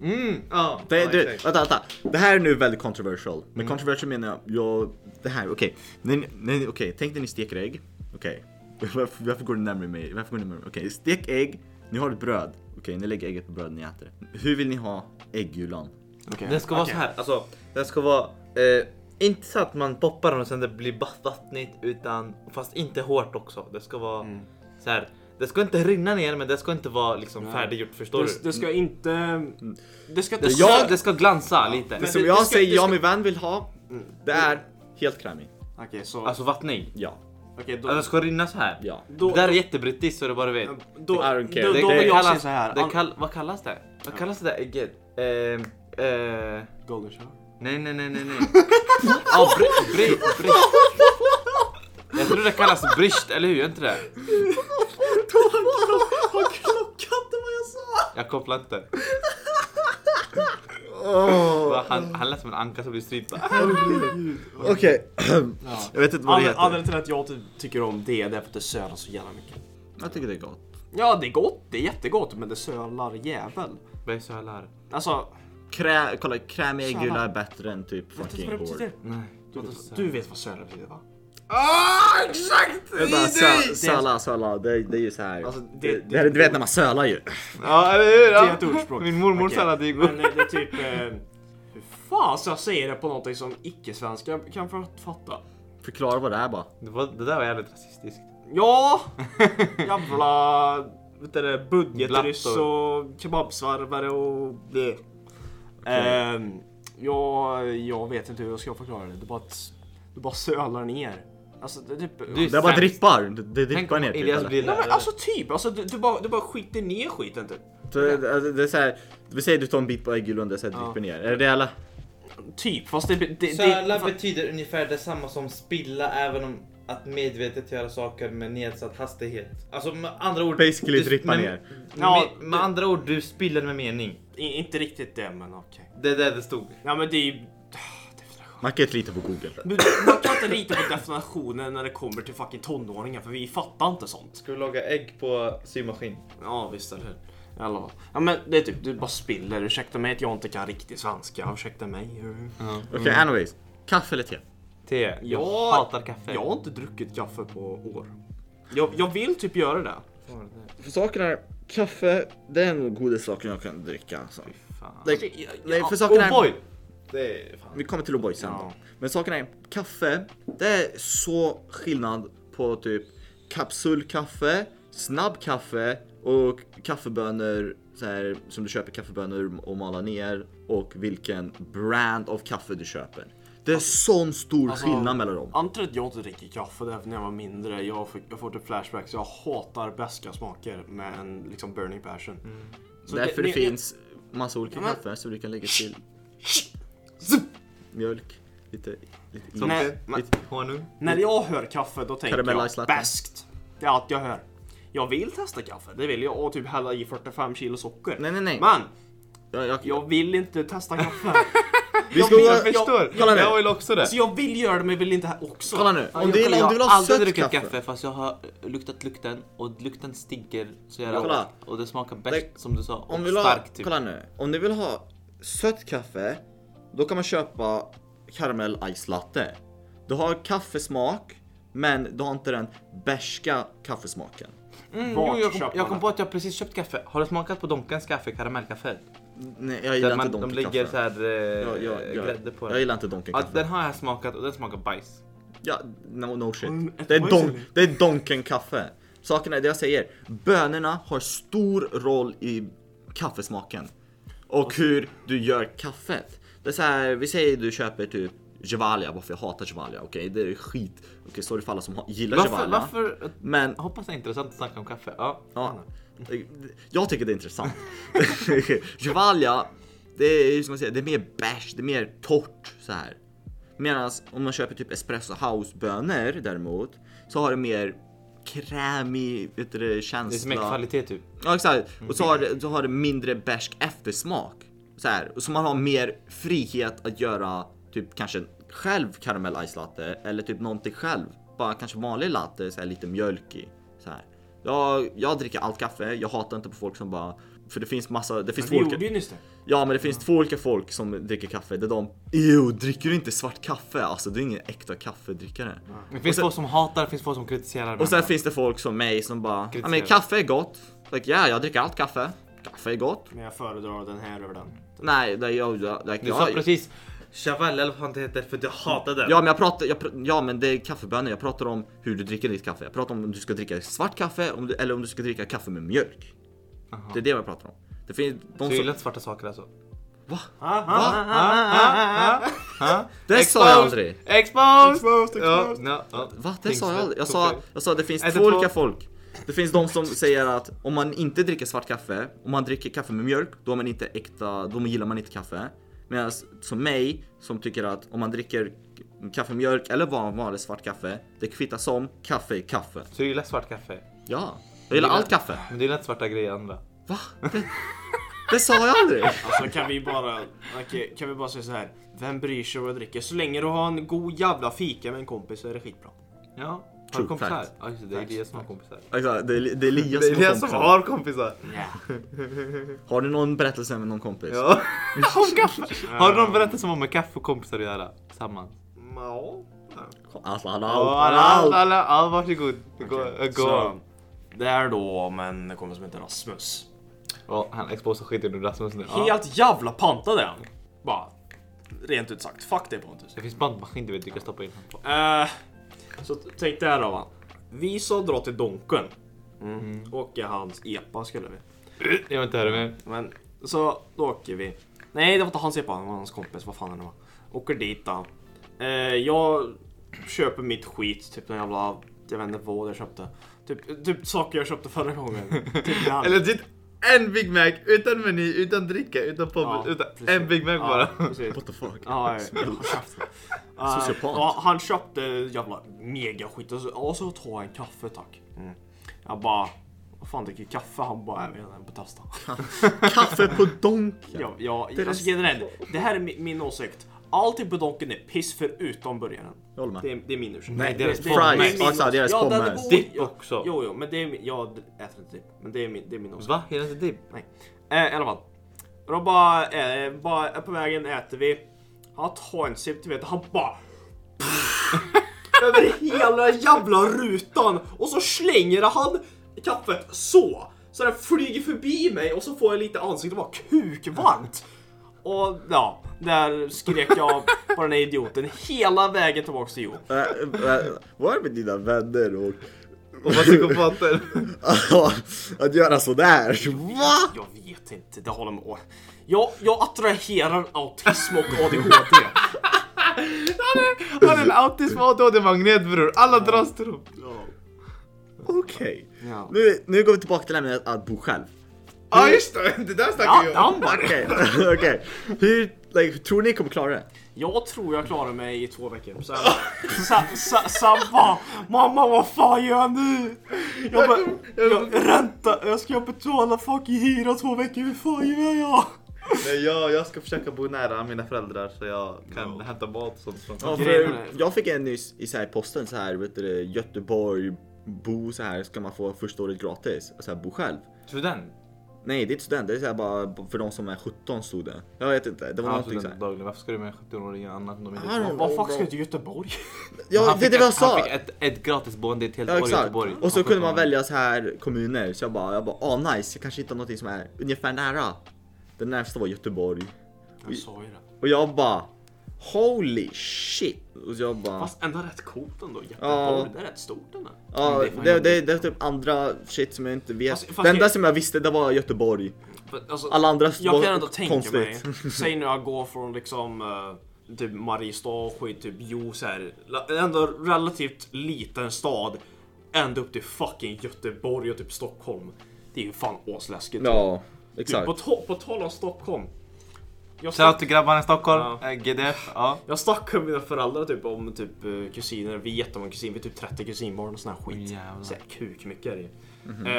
S3: Mm, ja.
S1: Det,
S3: ja,
S1: du,
S3: exakt.
S1: vänta, vänta. Det här är nu väldigt controversial. Med controversial menar jag, jag det här, okej. Ni- ni- Okej, tänk när ni steker ägg. Okej. Varför, varför går du närmare mig? Varför går du närmare mig? Okej, stek ägg, ni har ett bröd. Okej, Okej, ni lägger ägget på brödet ni äter. Hur vill ni ha äggulan?
S2: Okej.
S3: Den ska vara
S2: Okej.
S3: så här, alltså den ska vara eh, inte så att man poppar den och sen det blir vatt- vattnigt utan fast inte hårt också. Det ska vara
S2: Mm.
S3: så här. Det ska inte rinna ner men det ska inte vara liksom
S2: Nej.
S3: färdiggjort förstår
S2: Det,
S3: du?
S2: det ska inte... Mm. Det ska inte...
S3: Det ska, det ska glansa lite.
S1: Det
S2: Men
S1: som
S2: det-
S1: jag
S2: det ska-
S1: säger,
S2: det
S1: jag
S2: ska- Mm.
S1: och min vän vill ha, det är helt krämig.
S2: Okej, så...
S3: Alltså vattning.
S1: Ja,
S2: okej, då,
S3: Alltså, det ska rinna så här.
S1: ja.
S2: då,
S3: det där är jättebrittiskt så du bara vet.
S2: då, då,
S1: I don't care.
S2: då,
S1: Det-
S2: då
S1: det
S2: vill jag säga
S3: kallas,
S2: så här.
S3: det
S2: An-
S3: kall, vad kallas det? Vad kallas det där ägget? Eh, eh,
S2: Golden shower.
S3: nej, nej, nej, nej, nej. Ja, bri, bri, bri. Jag tror det kallas brist, eller hur? Gör inte det?
S1: Har klockat vad jag sa?
S3: Jag kopplar inte. Va, Han, han lät som en anka som blir strypt.
S1: Okej,
S2: Ja.
S1: jag vet inte vad det
S2: Anled-
S1: heter.
S2: Anledningen till att jag typ tycker om det, det är för att det sölar så jävla mycket.
S1: Jag tycker det är gott.
S2: Ja, det är gott. Det är jättegott, men det sölar jävel.
S3: Böjsölar.
S2: Alltså,
S1: Krä, kolla, krämig
S2: Tjena.
S1: äggula är bättre än typ
S2: vet du vad
S1: fucking
S2: det
S1: hård.
S2: betyder?
S3: Nej.
S2: Du, vet- du vet vad sölar betyder va?
S3: Ah, exakt!
S1: Vänta, sö, söla, söla, det, det är ju så här.
S2: Alltså, det-
S1: det, det, du vet när man sölar ju.
S3: Ja, eller hur?
S2: Det
S3: Ja.
S2: är ett ordspråk.
S3: Min mormor
S2: Okej.
S3: sallad är god.
S2: Men eh, det är typ... Eh, hur fan så jag säger det på någonting som icke-svenskar kan få fatta?
S1: Förklara vad det är bara.
S3: Det, var, det där var jävligt rasistiskt.
S2: Ja! Jävla... Vet du det, budgetryss och kebabsvarvare och... Det. Ehm, ja, jag vet inte hur jag ska förklara det. Det bara, att- det bara sölar ner. Alltså det är typ...
S3: Du-
S1: Det bara
S3: Sämst.
S1: drippar, det, det
S3: Tänk
S1: drippar
S3: om
S1: ner typ.
S3: Elias
S1: eller?
S3: blir
S2: Nej, men
S3: lärare.
S2: alltså typ, alltså, du, du, bara, du bara skiter ner skiten typ.
S1: Det, det, det är så här, vi säger du tar en bit på äggulan och så här
S2: Ja.
S1: dripper ner. Är det det eller?
S2: Typ, fast det... det, det
S3: Söla
S2: fast-
S3: betyder ungefär detsamma som spilla även om att medvetet göra saker med nedsatt hastighet. Alltså med andra ord...
S1: Basically
S3: du-
S1: drippa
S3: med-
S1: ner.
S2: Ja,
S3: med, med andra ord, du spiller med mening.
S2: i- inte riktigt det, men okej.
S3: Det är där det stod.
S2: Nej men det är ju...
S1: Man kan inte lita på google.
S2: Men Man kan inte lita på definitionen när det kommer till fucking tonåringar för vi fattar inte sånt.
S3: Ska vi laga ägg på symaskin?
S2: Ja visst eller hur. I alla fall. Ja men det är typ, du bara spiller. Ursäkta mig att jag inte kan riktig svenska. Ursäkta mig.
S1: Okej, anyways. Kaffe eller te?
S3: Te. Jag
S2: Ja,
S3: hatar kaffe.
S2: Jag har inte druckit kaffe på år. Jag, jag vill typ göra det.
S1: För saken är, kaffe, det är en god sak jag kan dricka. Alltså.
S3: Fan.
S1: Det,
S2: Ja,
S1: nej,
S2: ja,
S1: för saken är...
S3: O'boy! Det är fan...
S1: Vi kommer till O'boy sen.
S2: Ja.
S1: Men saken är, kaffe, det är så skillnad på typ kapsulkaffe, snabbkaffe och kaffebönor så här, som du köper kaffebönor och malar ner och vilken brand av kaffe du köper. Det är sån stor
S2: Alltså,
S1: skillnad mellan dem.
S2: Antar att jag inte dricker kaffe därför när jag var mindre. Jag, fick, jag får typ flashbacks. Jag hatar beska smaker med en liksom burning passion. Så
S1: Därför det,
S2: ni-
S1: finns massa olika
S2: Ja, men-
S1: kaffe så du kan lägga till mjölk, lite, lite is,
S3: Som
S2: Nej,
S3: te.
S2: men-
S3: Lite honung.
S2: När jag hör kaffe då tänker
S1: Caramelized
S2: jag
S1: latte.
S2: beskt. Det är allt jag hör. Jag vill testa kaffe, det vill jag. Och typ hälla i 45 kilo socker.
S1: Nej, nej, nej.
S2: Men
S1: Jag, jag,
S2: jag vill inte testa kaffe.
S1: vi
S2: jag
S1: ska,
S2: vill-
S1: jag,
S3: Jag förstår.
S1: kolla nu.
S3: Alltså, jag vill också det.
S2: Så Alltså, jag vill göra det men jag vill inte här också.
S1: kolla nu, om
S2: Ja, jag-
S1: du, vill- om du vill ha
S3: aldrig
S1: sött
S3: druckit
S1: kaffe.
S3: kaffe. fast jag har luktat lukten och lukten stinker så jag
S1: Kolla.
S3: att, och det smakar bäst
S1: Det-
S3: som du sa och
S1: Om du vill ha,
S3: starkt typ.
S1: kolla nu, om du vill ha sött kaffe, då kan man köpa karamell ice latte. Du har kaffesmak, men du har inte den bärska kaffesmaken.
S3: Mm,
S2: Vart
S3: jo, jag, kom,
S2: köper
S3: jag
S2: man
S3: kom
S2: det?
S3: på att jag precis köpt kaffe. Har du smakat på Donkens kaffe, karamellkaffe?
S1: Nej, jag gillar
S3: Där man,
S1: inte
S3: de
S1: donken
S3: lägger
S1: kaffe.
S3: så här eh,
S1: jag, jag,
S3: grädde
S1: jag,
S3: på
S1: jag
S3: den.
S1: gillar inte donken
S3: Ja,
S1: kaffe.
S3: den har jag smakat och den smakar bajs.
S1: Ja, no, no shit.
S2: Mm,
S1: Det är,
S2: ett
S1: don,
S2: voice
S1: det är donken kaffe. Saken är det jag säger, bönorna har stor roll i kaffesmaken. Och hur du gör kaffet. Det är så här, vi säger du köper typ Gevalia, varför jag hatar Gevalia, okej det är skit. Okej sorry för alla som ha- gillar
S3: Varför,
S1: Gevalia.
S3: varför?
S1: Men
S3: Jag hoppas det är intressant att snacka om kaffe. Ja.
S1: Ja. Jag tycker det är intressant. Gevalia, det är ju som man säger, det är mer bärs, det är mer torrt så här. Medan om man köper typ espresso house bönor däremot så har det mer krämig vet du, det,
S3: Det är som en
S1: känsla.
S3: kvalitet typ.
S1: ja exakt. Och så har,
S2: Mm.
S1: det, så har det mindre bärsk eftersmak. Så här. Och så man har mer frihet att göra typ kanske själv karamell ice latte eller typ någonting själv. Bara kanske vanlig latte, så här, lite mjölkig. Så här. Jag, jag dricker allt kaffe, jag hatar inte på folk som bara för det finns massa, det finns
S2: Vi
S1: två olika...
S2: gjorde ju nyss det.
S1: Ja men det finns två olika folk som dricker kaffe, det är de Jo, dricker du inte svart kaffe? Alltså du är ingen äkta kaffedrickare.
S3: Det finns folk som hatar, det finns folk som kritiserar.
S1: Och sen
S3: varandra.
S1: finns det folk som mig som bara, ja men
S3: Kritiserar.
S1: kaffe är gott. Like, ja, jag dricker allt kaffe. Kaffe är gott.
S2: Men jag föredrar den här över den.
S1: Nej, det, jag, jag, jag,
S3: Du sa
S1: jag,
S3: precis Chaval eller vad fan det heter för att jag hatar den.
S1: Ja men jag pratar, jag, pr- ja men det är kaffebönor, jag pratar om hur du dricker ditt kaffe. Jag pratar om om du ska dricka svart kaffe om du, eller om du ska dricka kaffe med mjölk. Det är det jag pratar om. Det finns de
S3: Så du gillar
S1: som...
S3: inte svarta saker alltså?
S1: Va?
S2: Ah, ah,
S1: Va?
S2: ah, ah, ah, ah.
S3: Ha?
S1: Det sa jag aldrig!
S3: Exposed!
S2: Exposed,
S3: Ja,
S2: exposed.
S3: ja, ja.
S1: Va? Det sa jag aldrig. Jag sa, jag sa att det finns
S3: Är det
S1: två
S3: på-
S1: olika folk. Det finns de som säger att om man inte dricker svart kaffe, om man dricker kaffe med mjölk, då är man inte äkta, då gillar man inte kaffe. Medan som mig, som tycker att om man dricker kaffe med mjölk eller van- vanligt svart kaffe, det kvittar som, kaffe är kaffe.
S3: Så du gillar svart kaffe?
S1: Ja, jag gillar
S3: Gillar-
S1: allt kaffe.
S3: Men du gillar inte svarta grejer andra?
S1: Va? Det, det sa jag aldrig!
S2: Alltså kan vi bara, okej, kan vi bara säga så här. Vem bryr sig vad jag dricker? Så länge du har en god jävla fika med en kompis så är det skitbra.
S3: Ja. Har
S1: True
S3: du kompisar?
S1: fact.
S3: Ja just det, det är
S2: Fact,
S3: Elias som har kompisar.
S1: Exakt, Alltså, det, är- det är Elias
S3: Det är
S1: som har
S3: Elias som
S1: kompisar.
S3: har kompisar!
S1: Har du någon berättelse med någon kompis?
S3: Ja. Om kaffe. Har du någon berättelse som har med kaffe och kompisar att göra? Tillsammans?
S2: Ja.
S1: Alltså, han har
S3: Ja,
S1: allt, han
S3: alla,
S1: har
S3: alla,
S1: allt!
S3: alla, ja, varsågod. Gå,
S2: Okej,
S3: gå.
S2: så, Det är då om en kompis som heter Rasmus.
S3: Ja, han exposar skiten ur Rasmus nu. Ja.
S2: Helt jävla pantad är han. Bara rent ut sagt, fuck dig Pontus.
S3: Det finns bandmaskin du vet du kan stoppa in honom på.
S2: Eh, så t- tänk det här då va. Vi sa dra till Donken. Och i hans epa skulle vi.
S3: Jag vill inte höra mer.
S2: Men så då åker vi. Nej, det var inte hans epa, det var hans kompis. Vad fan är det var. Åker dit då. Eh, jag köper mitt skit, typ den jävla, jag vet inte vad jag köpte. Typ, typ saker jag köpte förra gången. typ den.
S3: Eller typ en Big Mac utan meny, utan dricka, utan pommes,
S2: Ja,
S3: utan
S2: precis.
S3: en Big Mac
S2: Ja,
S3: bara.
S2: precis.
S1: What the fuck?
S2: Ja, ja, ja. Eh,
S1: Sociopat.
S2: ja, han köpte jävla megaskit och så, och så tar jag en kaffe tack. Mm. Jag bara, vad fan dricker kaffe? Han bara, jag vet inte, jag får testa.
S1: Kaffe på donken!
S2: Ja, ja,
S1: Det är
S2: alltså,
S1: det-
S2: generellt, det här är mi- min åsikt. Allting på Donken är piss förutom burgaren.
S1: Jag håller med.
S2: Det är, det är min ursäkt.
S3: Nej, deras
S1: pommes.
S2: min
S1: Ja, exakt, deras
S2: åsikt. Ja,
S1: pommes.
S2: den är god.
S3: Dipp
S2: Ja,
S3: också.
S2: Jo, jo, men det är min, jag äter inte dipp. Men det är min, det är min åsikt.
S3: Va? Är det inte dipp?
S2: Nej. Eh, I alla fall. Och då bara, eh, bara på vägen äter vi. Han tar en sipp, du vet, han bara... över hela jävla rutan! Och så slänger han kaffet så! Så den flyger förbi mig och så får jag lite ansikte och bara kukvarmt! Och ja, där skrek jag på den här idioten hela vägen tillbaks till Hjo.
S1: Äh, äh, Vad är med dina vänner och
S3: Och vad psykopater?
S1: att göra sådär? Va?
S2: Jag vet inte, det håller med. Jag, jag attraherar autism och ADHD.
S3: Han är en autism och ADHD-magnet bror. Alla dras till dem.
S1: Okej.
S2: Ja.
S1: Nu, nu går vi tillbaka till ämnet att bo själv.
S3: Ja just det, det där
S2: Ja,
S3: snackar vi om.
S2: han bara
S1: Okej, okej. Hur, like, tror ni kommer klara det?
S2: Jag tror jag klarar mig i två veckor. Sen, sen, sen, sen bara, mamma vad fan gör jag nu? Jag, bara, jag ränta, jag ska betala fucking hyra två veckor, hur fan gör jag?
S3: Nej, jag, jag ska försöka bo nära mina föräldrar så jag kan
S2: Ja.
S3: hämta mat och sånt från
S1: Ja,
S2: Grejen
S1: för
S2: är-
S1: jag fick en nyss i så här posten så här, vet du, det, Göteborg, bo så här ska man få första året gratis. Så här, bo själv.
S3: Student?
S1: Nej, det är inte student, det är så här bara för de som är 17 stod det. Jag vet inte, det var
S3: Ja,
S1: någonting så
S3: student
S1: här.
S3: dagligen. Varför ska du med en 17-åring annat om de inte
S1: I don't know.
S2: Vad fuck ska jag till Göteborg?
S1: Ja,
S3: Han
S1: det är
S3: fick
S1: det jag
S3: ett-
S1: sa!
S3: Han fick ett, ett gratis boende i ett helt
S1: Ja
S3: år i
S1: exakt.
S3: Göteborg.
S1: Och så
S3: Han
S1: kunde man
S3: skötte
S1: välja så här kommuner så jag bara, jag bara, ah nice, jag kanske hittar någonting som är ungefär nära. Den närmsta var Göteborg.
S2: Jag sa ju det.
S1: Och jag bara, holy shit. Och jag bara,
S2: Fast ändå rätt coolt ändå,
S1: Ja.
S2: Göteborg, det är rätt stort ändå.
S1: ja
S3: det är fan
S1: "Ah, det, det,
S3: jobbigt.
S1: det är typ andra shit som jag inte vet.
S2: Fast- fast
S1: det enda
S2: jag-
S1: som jag visste det var Göteborg.
S2: För, alltså,
S1: Alla andra var
S2: jag kan ändå tänka
S1: konstigt.
S2: mig, säg nu jag går från liksom eh, typ Mariestad och skit, typ Jo så här, la- en ändå relativt liten stad ända upp till fucking Göteborg och typ Stockholm. Det är ju fan asläskigt.
S1: Ja,
S2: Typ,
S1: exakt.
S2: på, to- på tal om Stockholm. Jag
S3: honom.
S2: snack-
S3: Shoutout till grabbarna i Stockholm, Eh,
S2: Ja.
S3: ja. GDF. Ja.
S2: jag snackade med mina föräldrar typ om typ eh, kusiner, vi är jättemånga kusiner, vi är typ 30 kusinbarn och sån här skit.
S3: Jävlar. Mhm.
S2: Så här kuk mycket är det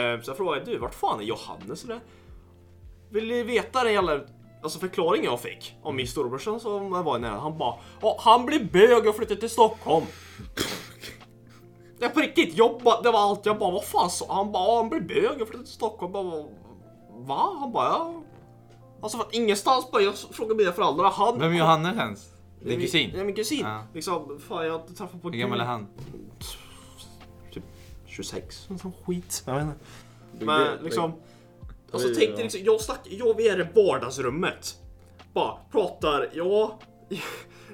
S2: ju. Eh, Så jag frågade du, vart fan är Johannes eller? Vill ni veta den jävla alltså förklaringen jag fick om min storebrorsa som var nära? Han bara, "Ja, han blev bög och flyttade till Stockholm. Det är på riktigt, jag bara, det var allt. Jag bara, vad fan sa han? bara, "Ja, han blev bög och flyttade till Stockholm. Jag bara, Va? Han bara, ja. Alltså från ingenstans bara, jag frågade mina föräldrar. Han,
S3: Vem är Johannes ens? Din
S2: Ja,
S3: kusin?
S2: min kusin.
S3: Ja.
S2: Liksom, fan jag har inte träffat på
S3: Hur gammal är han?
S2: Typ 26. Någon sån skit. Jag vet inte.
S1: Det-
S2: Men
S1: det-
S2: liksom. Alltså
S1: Det är-
S2: tänk dig liksom, jag, snack, jag vi är i vardagsrummet. Bara pratar, ja,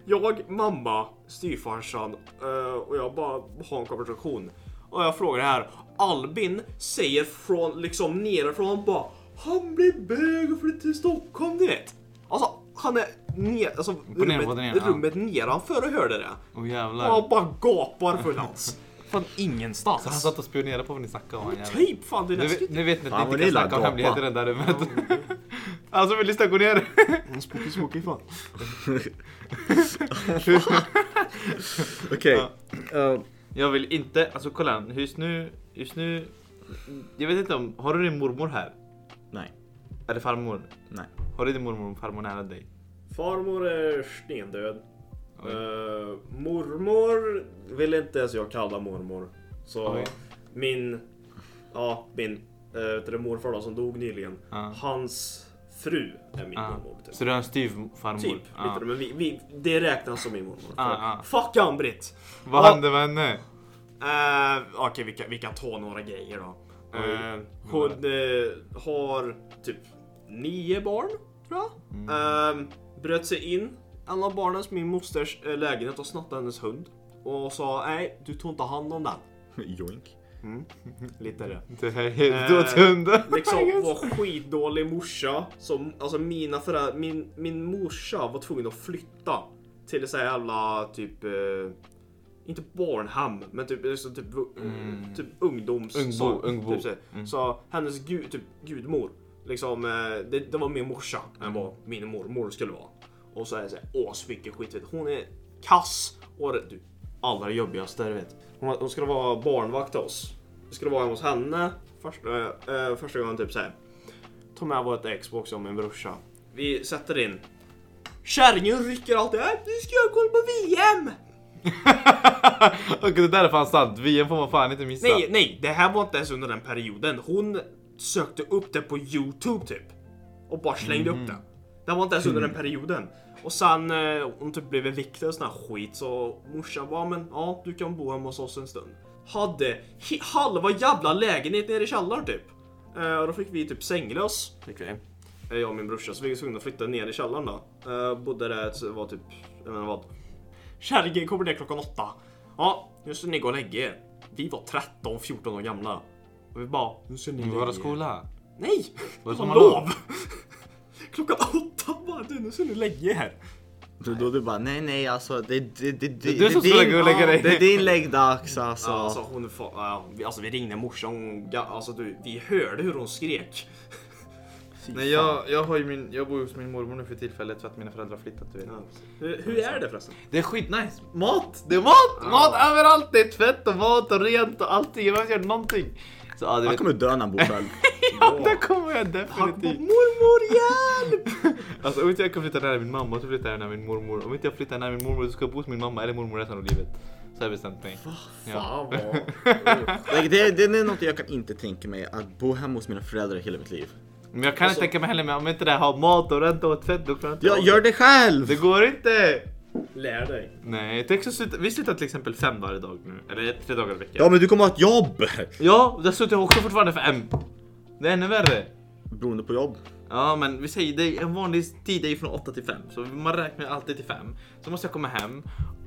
S2: jag, mamma, styvfarsan eh, och jag bara har en konversation. Och jag frågar det här, Albin säger från liksom nerifrån bara han blir bög och flyttar till Stockholm du vet. Alltså han är ner, alltså, rummet,
S4: nervåningen, ja.
S2: rummet nedanför och hörde det.
S4: Åh
S2: Och han
S4: jävlar.
S2: bara gapar för dans.
S4: Från ingenstans.
S3: Han satt och spionerade på vad ni snackade om. han jäveln.
S2: Typ fan det är
S4: Nu, vet-
S2: läskigt.
S4: nu vet ni
S1: Fan,
S4: att ni
S1: vad
S4: inte
S1: ni
S4: kan snacka om
S1: gapar.
S4: hemligheter i det där rummet. Alltså vill lyssna, gå ner.
S2: Spooky spooky fan.
S1: Okej. Eh,
S3: Jag vill inte, alltså kolla här, just nu, just nu. Jag vet inte om, har du din mormor här?
S1: nej,
S3: Eller farmor?
S1: nej.
S3: Har du din mormor och farmor nära dig?
S2: Farmor är stendöd. Eh, mormor vill inte ens jag kalla mormor. Så
S4: Oj.
S2: min, ja min eh, vet du, det, morfar då, som dog nyligen.
S3: Ja.
S2: Hans fru är min
S3: Ah.
S2: mormor. Typ,
S3: Så du har en styvfarmor?
S2: typ
S3: Ja.
S2: lite, men vi, vi, det räknas som min mormor.
S3: Ah,
S2: För-
S3: ah.
S2: Fuck Ann-Britt!
S3: Vad
S2: Ja.
S3: hände med henne?
S2: Eh, Okej, vi, kan, vi kan ta några grejer då. Eh, hon eh, har typ nio barn, tror jag. Eh, bröt sig in en av barnens, min mosters eh, lägenhet och snattade hennes hund. Och sa nej, du tog inte hand om den.
S1: Joink.
S2: Lite det.
S3: Det här är helt
S2: Eh,
S3: åt hunden.
S2: Liksom var skitdålig morsa. Som, alltså mina föräldrar, min, min morsa var tvungen att flytta till så här jävla typ eh, inte barnhem, men typ, liksom, typ, mm. typ ungdoms...
S3: Ungbo,
S2: så-
S3: ungbo. Mm.
S2: Typ, så, här. så hennes gu, typ, gudmor, liksom, eh, det, det var min morsa
S3: Mm.
S2: än vad min mormor skulle vara. Och så är det såhär, åh så mycket skit. vet du. Hon är kass och det- du, allra jobbigaste du vet. Hon, hon skulle vara barnvakt till oss. Vi skulle vara hemma hos henne första, eh, första gången typ såhär. Ta med vårt Xbox om min brorsa. Vi sätter in. Kärringen rycker alltid. "Äh, Nu ska jag kolla på VM!
S3: Och det där är fan sant, VM får man fan inte missa.
S2: Nej, nej, det här var inte ens under den perioden. Hon sökte upp det på Youtube typ. Och bara slängde upp det. Det var inte ens under den perioden. Och sen eh, hon typ blev eviktad och sån här skit så morsan bara men ja du kan bo hemma hos oss en stund. Hade he- halva jävla lägenhet nere i källaren typ. Eh, och då fick vi typ sänglös. Fick vi. Eh, Jag och min brorsa så vi var tvungna att flytta ner i källaren då. Eh, bodde där, så det var typ, jag menar vad, Kärringen kommer ner klockan åtta. Ja, nu ska ni gå och lägga er. Vi var 13, 14 år gamla. Och vi bara, nu ska ni
S3: Vi var
S2: lägga
S3: i
S2: er.
S3: skola.
S2: Nej!
S3: Var det
S2: Det var
S3: sommarlov?
S2: lov! klockan åtta bara, du nu ska ni lägga er.
S1: Då, då du bara nej nej alltså det, det, det, det, det,
S3: är du som skulle gå och lägga dig.
S1: Det är din läggdags alltså.
S2: Ja, Alltså, hon, fa- ja, vi, alltså vi ringde morsan, hon, ga- alltså du, vi hörde hur hon skrek. Fy
S3: Nej jag, jag har ju min, jag bor ju hos min mormor nu för tillfället för att mina föräldrar har flyttat du vet.
S2: fan. Hur, hur är det förresten?
S3: Det är skitnice! Mat! Det är mat! Mat överallt! Det är tvätt och mat och rent och allting. Jag behöver inte göra någonting. Så ja, du
S1: Han
S3: vet.
S1: kommer dö när han bor själv.
S3: Ja, det kommer jag
S2: Han bara,
S3: definitivt.
S2: mormor hjälp!
S3: Alltså om inte jag kan flytta nära min mamma så flyttar jag nära min mormor. Om inte jag flyttar nära min mormor så ska jag bo hos min mamma eller mormor resten av livet. Så har jag bestämt mig.
S2: Fan vad...
S1: Like, det, det är något jag kan inte tänka mig, att bo hemma hos mina föräldrar hela mitt liv.
S3: Men jag kan
S2: Alltså-
S3: inte tänka mig heller men om inte det här har mat och rent och tvätt då klarar jag inte
S1: Jag
S3: av
S1: gör det själv!
S3: Det går inte!
S2: Lär dig.
S3: Nej, tänk så sluta, vi slutar till exempel fem dagar i dag nu. Eller tre dagar i veckan.
S1: Ja men du kommer ha ett jobb!
S3: Ja, där slutar jag också fortfarande för en. Det är ännu värre.
S1: Beroende på jobb.
S3: Ja, men vi säger det är en vanlig tid är ju från 8 till 5. Så man räknar ju alltid till 5. Så måste jag komma hem.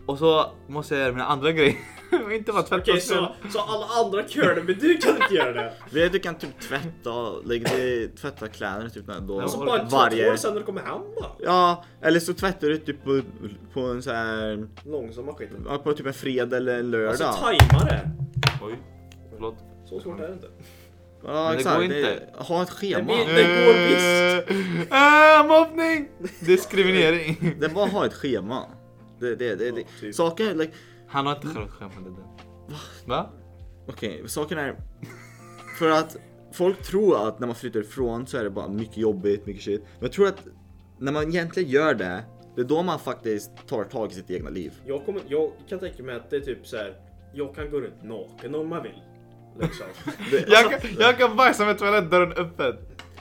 S3: Och så måste jag göra mina andra grejer. och inte vara tvättad.
S2: Okej, så, så alla andra körde, men du kan inte göra det.
S1: Vet Du kan typ tvätta, like, det, tvätta kläderna typ när, då,
S2: Alltså bara två år
S1: varje...
S2: sen när du kommer hem bara.
S1: Ja, eller så tvättar du typ på, på en så här,
S2: Långsamma skiten.
S1: ja, på typ en fredag eller en lördag.
S2: Alltså tajma det.
S3: Oj, förlåt.
S2: Så svårt är det inte.
S1: ja,
S3: Men det
S1: exakt,
S3: går
S1: ha ett schema.
S2: Det
S1: Det,
S2: blir- går visst.
S3: Äh, mobbning! Diskriminering.
S1: är bara att ha ett schema. Det, det, det, det.
S2: Ja, typ.
S1: Saken är, like,
S3: Han har inte själv skämt det där. Va?
S1: okej, saken är... För att folk tror att när man flyttar ifrån så är det bara mycket jobbigt, mycket shit. Men jag tror att när man egentligen gör det, det är då man faktiskt tar tag i sitt egna liv.
S2: Jag, kommer, jag kan tänka mig att det är typ så här. jag kan gå runt naken om man vill. Liksom.
S1: Det,
S3: Jag, kan- jag kan bajsa med toalettdörren öppen.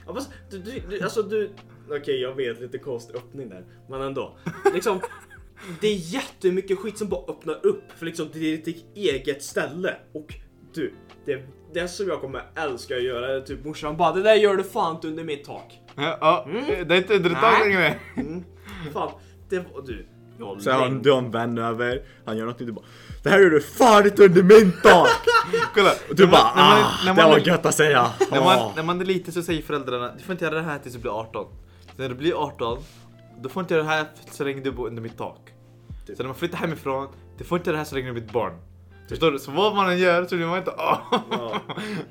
S2: Ja, fast, du, du, du, alltså du, okej jag vet lite konstig öppning där, men ändå. Liksom, det är jättemycket skit som bara öppnar upp för liksom det är ditt eget ställe och Du, det, det som jag kommer älska att göra är typ morsan bara det där gör du fan inte under mitt tak.
S4: Ja, ja,
S3: Mm.
S4: Det är inte under ett tag
S2: Nej.
S4: längre.
S2: Fan, det var du. Jag
S1: Så han
S2: längtar.
S1: John Van över, han gör något nytt och bara Det här är du fan inte under min tak!
S4: Kolla.
S1: Och du bara
S3: när man-
S1: ah,
S3: när
S1: det
S3: man-
S1: var gött att säga!
S3: När
S1: Ah.
S3: man, när man är liten så säger föräldrarna du får inte göra det här tills du blir 18. Så när du blir 18, du får inte göra det här så länge du bor under mitt tak. Så när man flyttar hemifrån, du får inte göra det här så länge du blir ett barn. Förstår du? Så vad man än gör så blir man inte åh.
S2: Ja.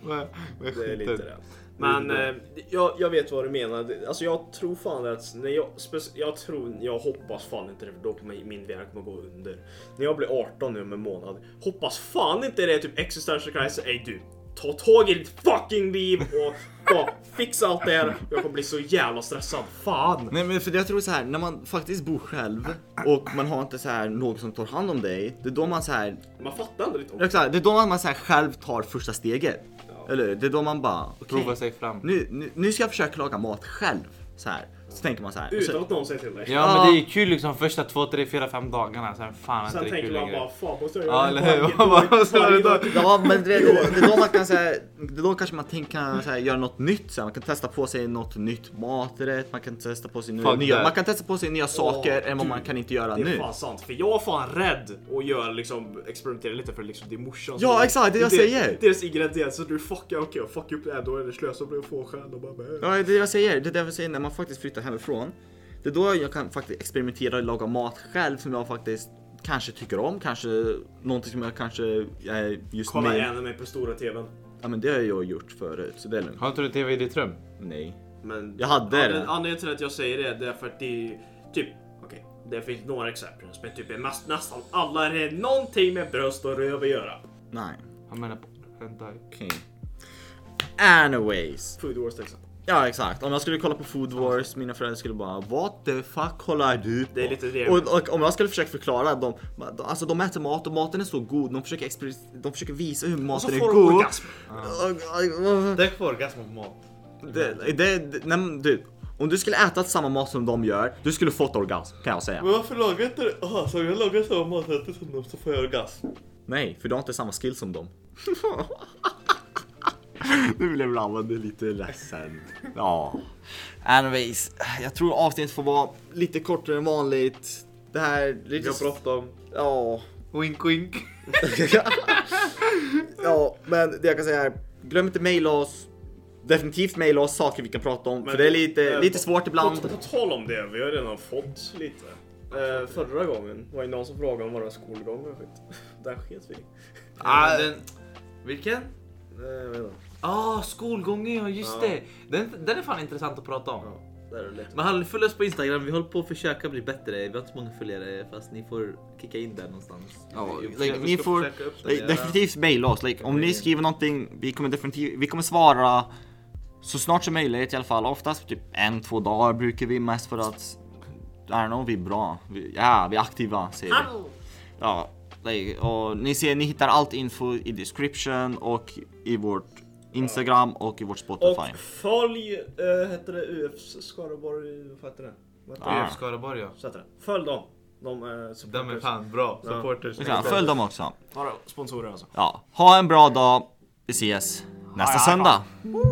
S3: Vad- vad
S2: Det är lite
S3: skiten.
S2: det. Men eh, jag, jag vet vad du menar. Det- Alltså jag tror fan att, när jag, spec- jag tror, jag hoppas fan inte det för då kommer min värld kommer gå under. När jag blir 18 nu om en månad, hoppas fan inte det är typ existential crisis. Ey du, ta tag i ditt fucking liv och bara fixa allt det här. Jag kommer bli så jävla stressad. Fan!
S1: Nej men för jag tror så här när man faktiskt bor själv och man har inte så här någon som tar hand om dig, det är då man så här,
S2: Man fattar inte riktigt.
S1: det är så här- det är då man så här själv tar första steget. Eller hur? Det är då man bara, okej,
S3: Prova sig fram.
S1: nu, nu, nu ska jag försöka laga mat själv. Så här. Så tänker man så här.
S2: Utan
S1: Så,
S2: att någon säger till dig.
S3: Ja
S1: Ja.
S3: men det är kul liksom första två, tre, fyra, fem dagarna. Sen fan
S2: Sen
S3: inte det är
S2: tänker
S3: kul
S2: man bara,
S3: längre.
S2: fan måste jag
S3: Ja
S2: göra
S3: eller
S2: det
S3: hur?
S2: varje
S3: Bara-
S2: dag?
S3: bara- så är det
S2: Varje
S3: då.
S2: dag.
S1: ja men det, det, det är då man kan säga, det är då kanske man tänker kan så här, göra något nytt så här. Man kan testa på sig något nytt maträtt, man kan testa på sig nya,
S3: Fuck
S1: nya
S3: that.
S1: man kan testa på sig nya saker än vad man kan inte göra
S2: Det är
S1: nu.
S2: fan sant, för jag är fan rädd att göra liksom experimentera lite för liksom det är morsan som-
S1: Ja exakt, det jag
S2: det-
S1: säger!
S2: Deras ingredienser, du fuckar okej och fuck upp det här då är det slösa blir få själv och bara
S1: Ja, det är det jag säger. Det är därför jag säger när man faktiskt flyttar hemifrån. Det är då jag kan faktiskt experimentera och laga mat själv som jag faktiskt kanske tycker om. Kanske någonting som jag kanske är just
S2: Kolla
S1: mig.
S2: gärna mig på stora tvn.
S1: Ja men det har jag gjort förut så det är lugnt.
S3: Har inte du TV i ditt rum?
S1: Nej.
S2: Men
S1: Jag hade
S2: Ja,
S1: det.
S2: den Anledningen till att jag säger det, det är för att det är typ okej, det finns några exempel men typ är mest, nästan alla är det någonting med bröst och röv att göra.
S1: Nej.
S3: Han menar på hentai.
S1: Okej. Anyways.
S2: Food wars till exempel.
S1: Ja exakt. Om jag skulle kolla på Food Wars, mina föräldrar skulle bara What the fuck kollar du på?
S2: Det är lite det.
S1: Och, och om jag skulle försöka förklara dem, alltså de äter mat och maten är så god, de försöker, exper- de försöker visa hur
S2: Och så
S1: maten är
S2: får de
S1: god.
S2: orgasm.
S1: Och- och- och-
S3: Det är kvar ganska mycket mat.
S1: Det, det, det, nej, men du, om du skulle äta samma mat som de gör, du skulle fått orgasm kan jag säga.
S3: Men varför lagar inte du? Jaha, så jag lagar samma maträtter som dem så får jag orgasm.
S1: Nej, för du har inte samma skill som dem. nu blev Ravan lite ledsen. Ja. Anyways, jag tror avsnittet får vara lite kortare än vanligt. Det här... är
S3: Vi
S1: Lite...
S3: har bråttom.
S1: Ja.
S3: Wink wink.
S1: ja, men det jag kan säga är, glöm inte mejla oss. Definitivt mejla oss saker vi kan prata om, för det är lite,
S2: eh,
S1: lite svårt ibland.
S2: På, på tal om det, vi har redan fått lite. Eh, förra gången var det någon som frågade om våra skolgångar och skit. Där sket vi
S3: Ah, den... Vilken?
S2: Nej, jag vet inte.
S3: Ah, skolgången ja, just
S2: Ja.
S3: det. Den, den är fan intressant att prata om.
S2: Ja, där är det lite.
S3: Men hallå, följ oss på Instagram, vi håller på att försöka bli bättre. Vi har inte så många följare fast ni får kicka in där någonstans.
S1: Ja,
S3: Vi- vi-
S1: like,
S3: vi
S1: ni
S3: ska
S1: får-
S3: försöka
S1: Nej,
S3: uppdatera.
S1: Definitivt mejla oss. Like, om ni skriver någonting, vi kommer definitivt, vi kommer svara så snart som möjligt i alla fall. Oftast typ en, två dagar brukar vi mest för att, I don't know, vi är bra. Vi, ja, vi är aktiva säger vi. Ja, like, och ni ser, ni hittar allt info i description och i vårt Instagram och i vårt Spotify.
S2: Och följ, eh, heter det UFs Skaraborg, vad heter det? Vad heter
S1: Ja.
S3: IF Skaraborg ja.
S2: det? Så heter det. Följ dem. De är
S3: De är
S2: supporters.
S3: fan bra.
S2: Ja.
S3: Supporters.
S1: Ja, följ dem också.
S2: Vadå, sponsorer alltså.
S1: Ja, ha en bra dag. Vi ses nästa
S2: Ja, ja,
S1: söndag.
S2: fan.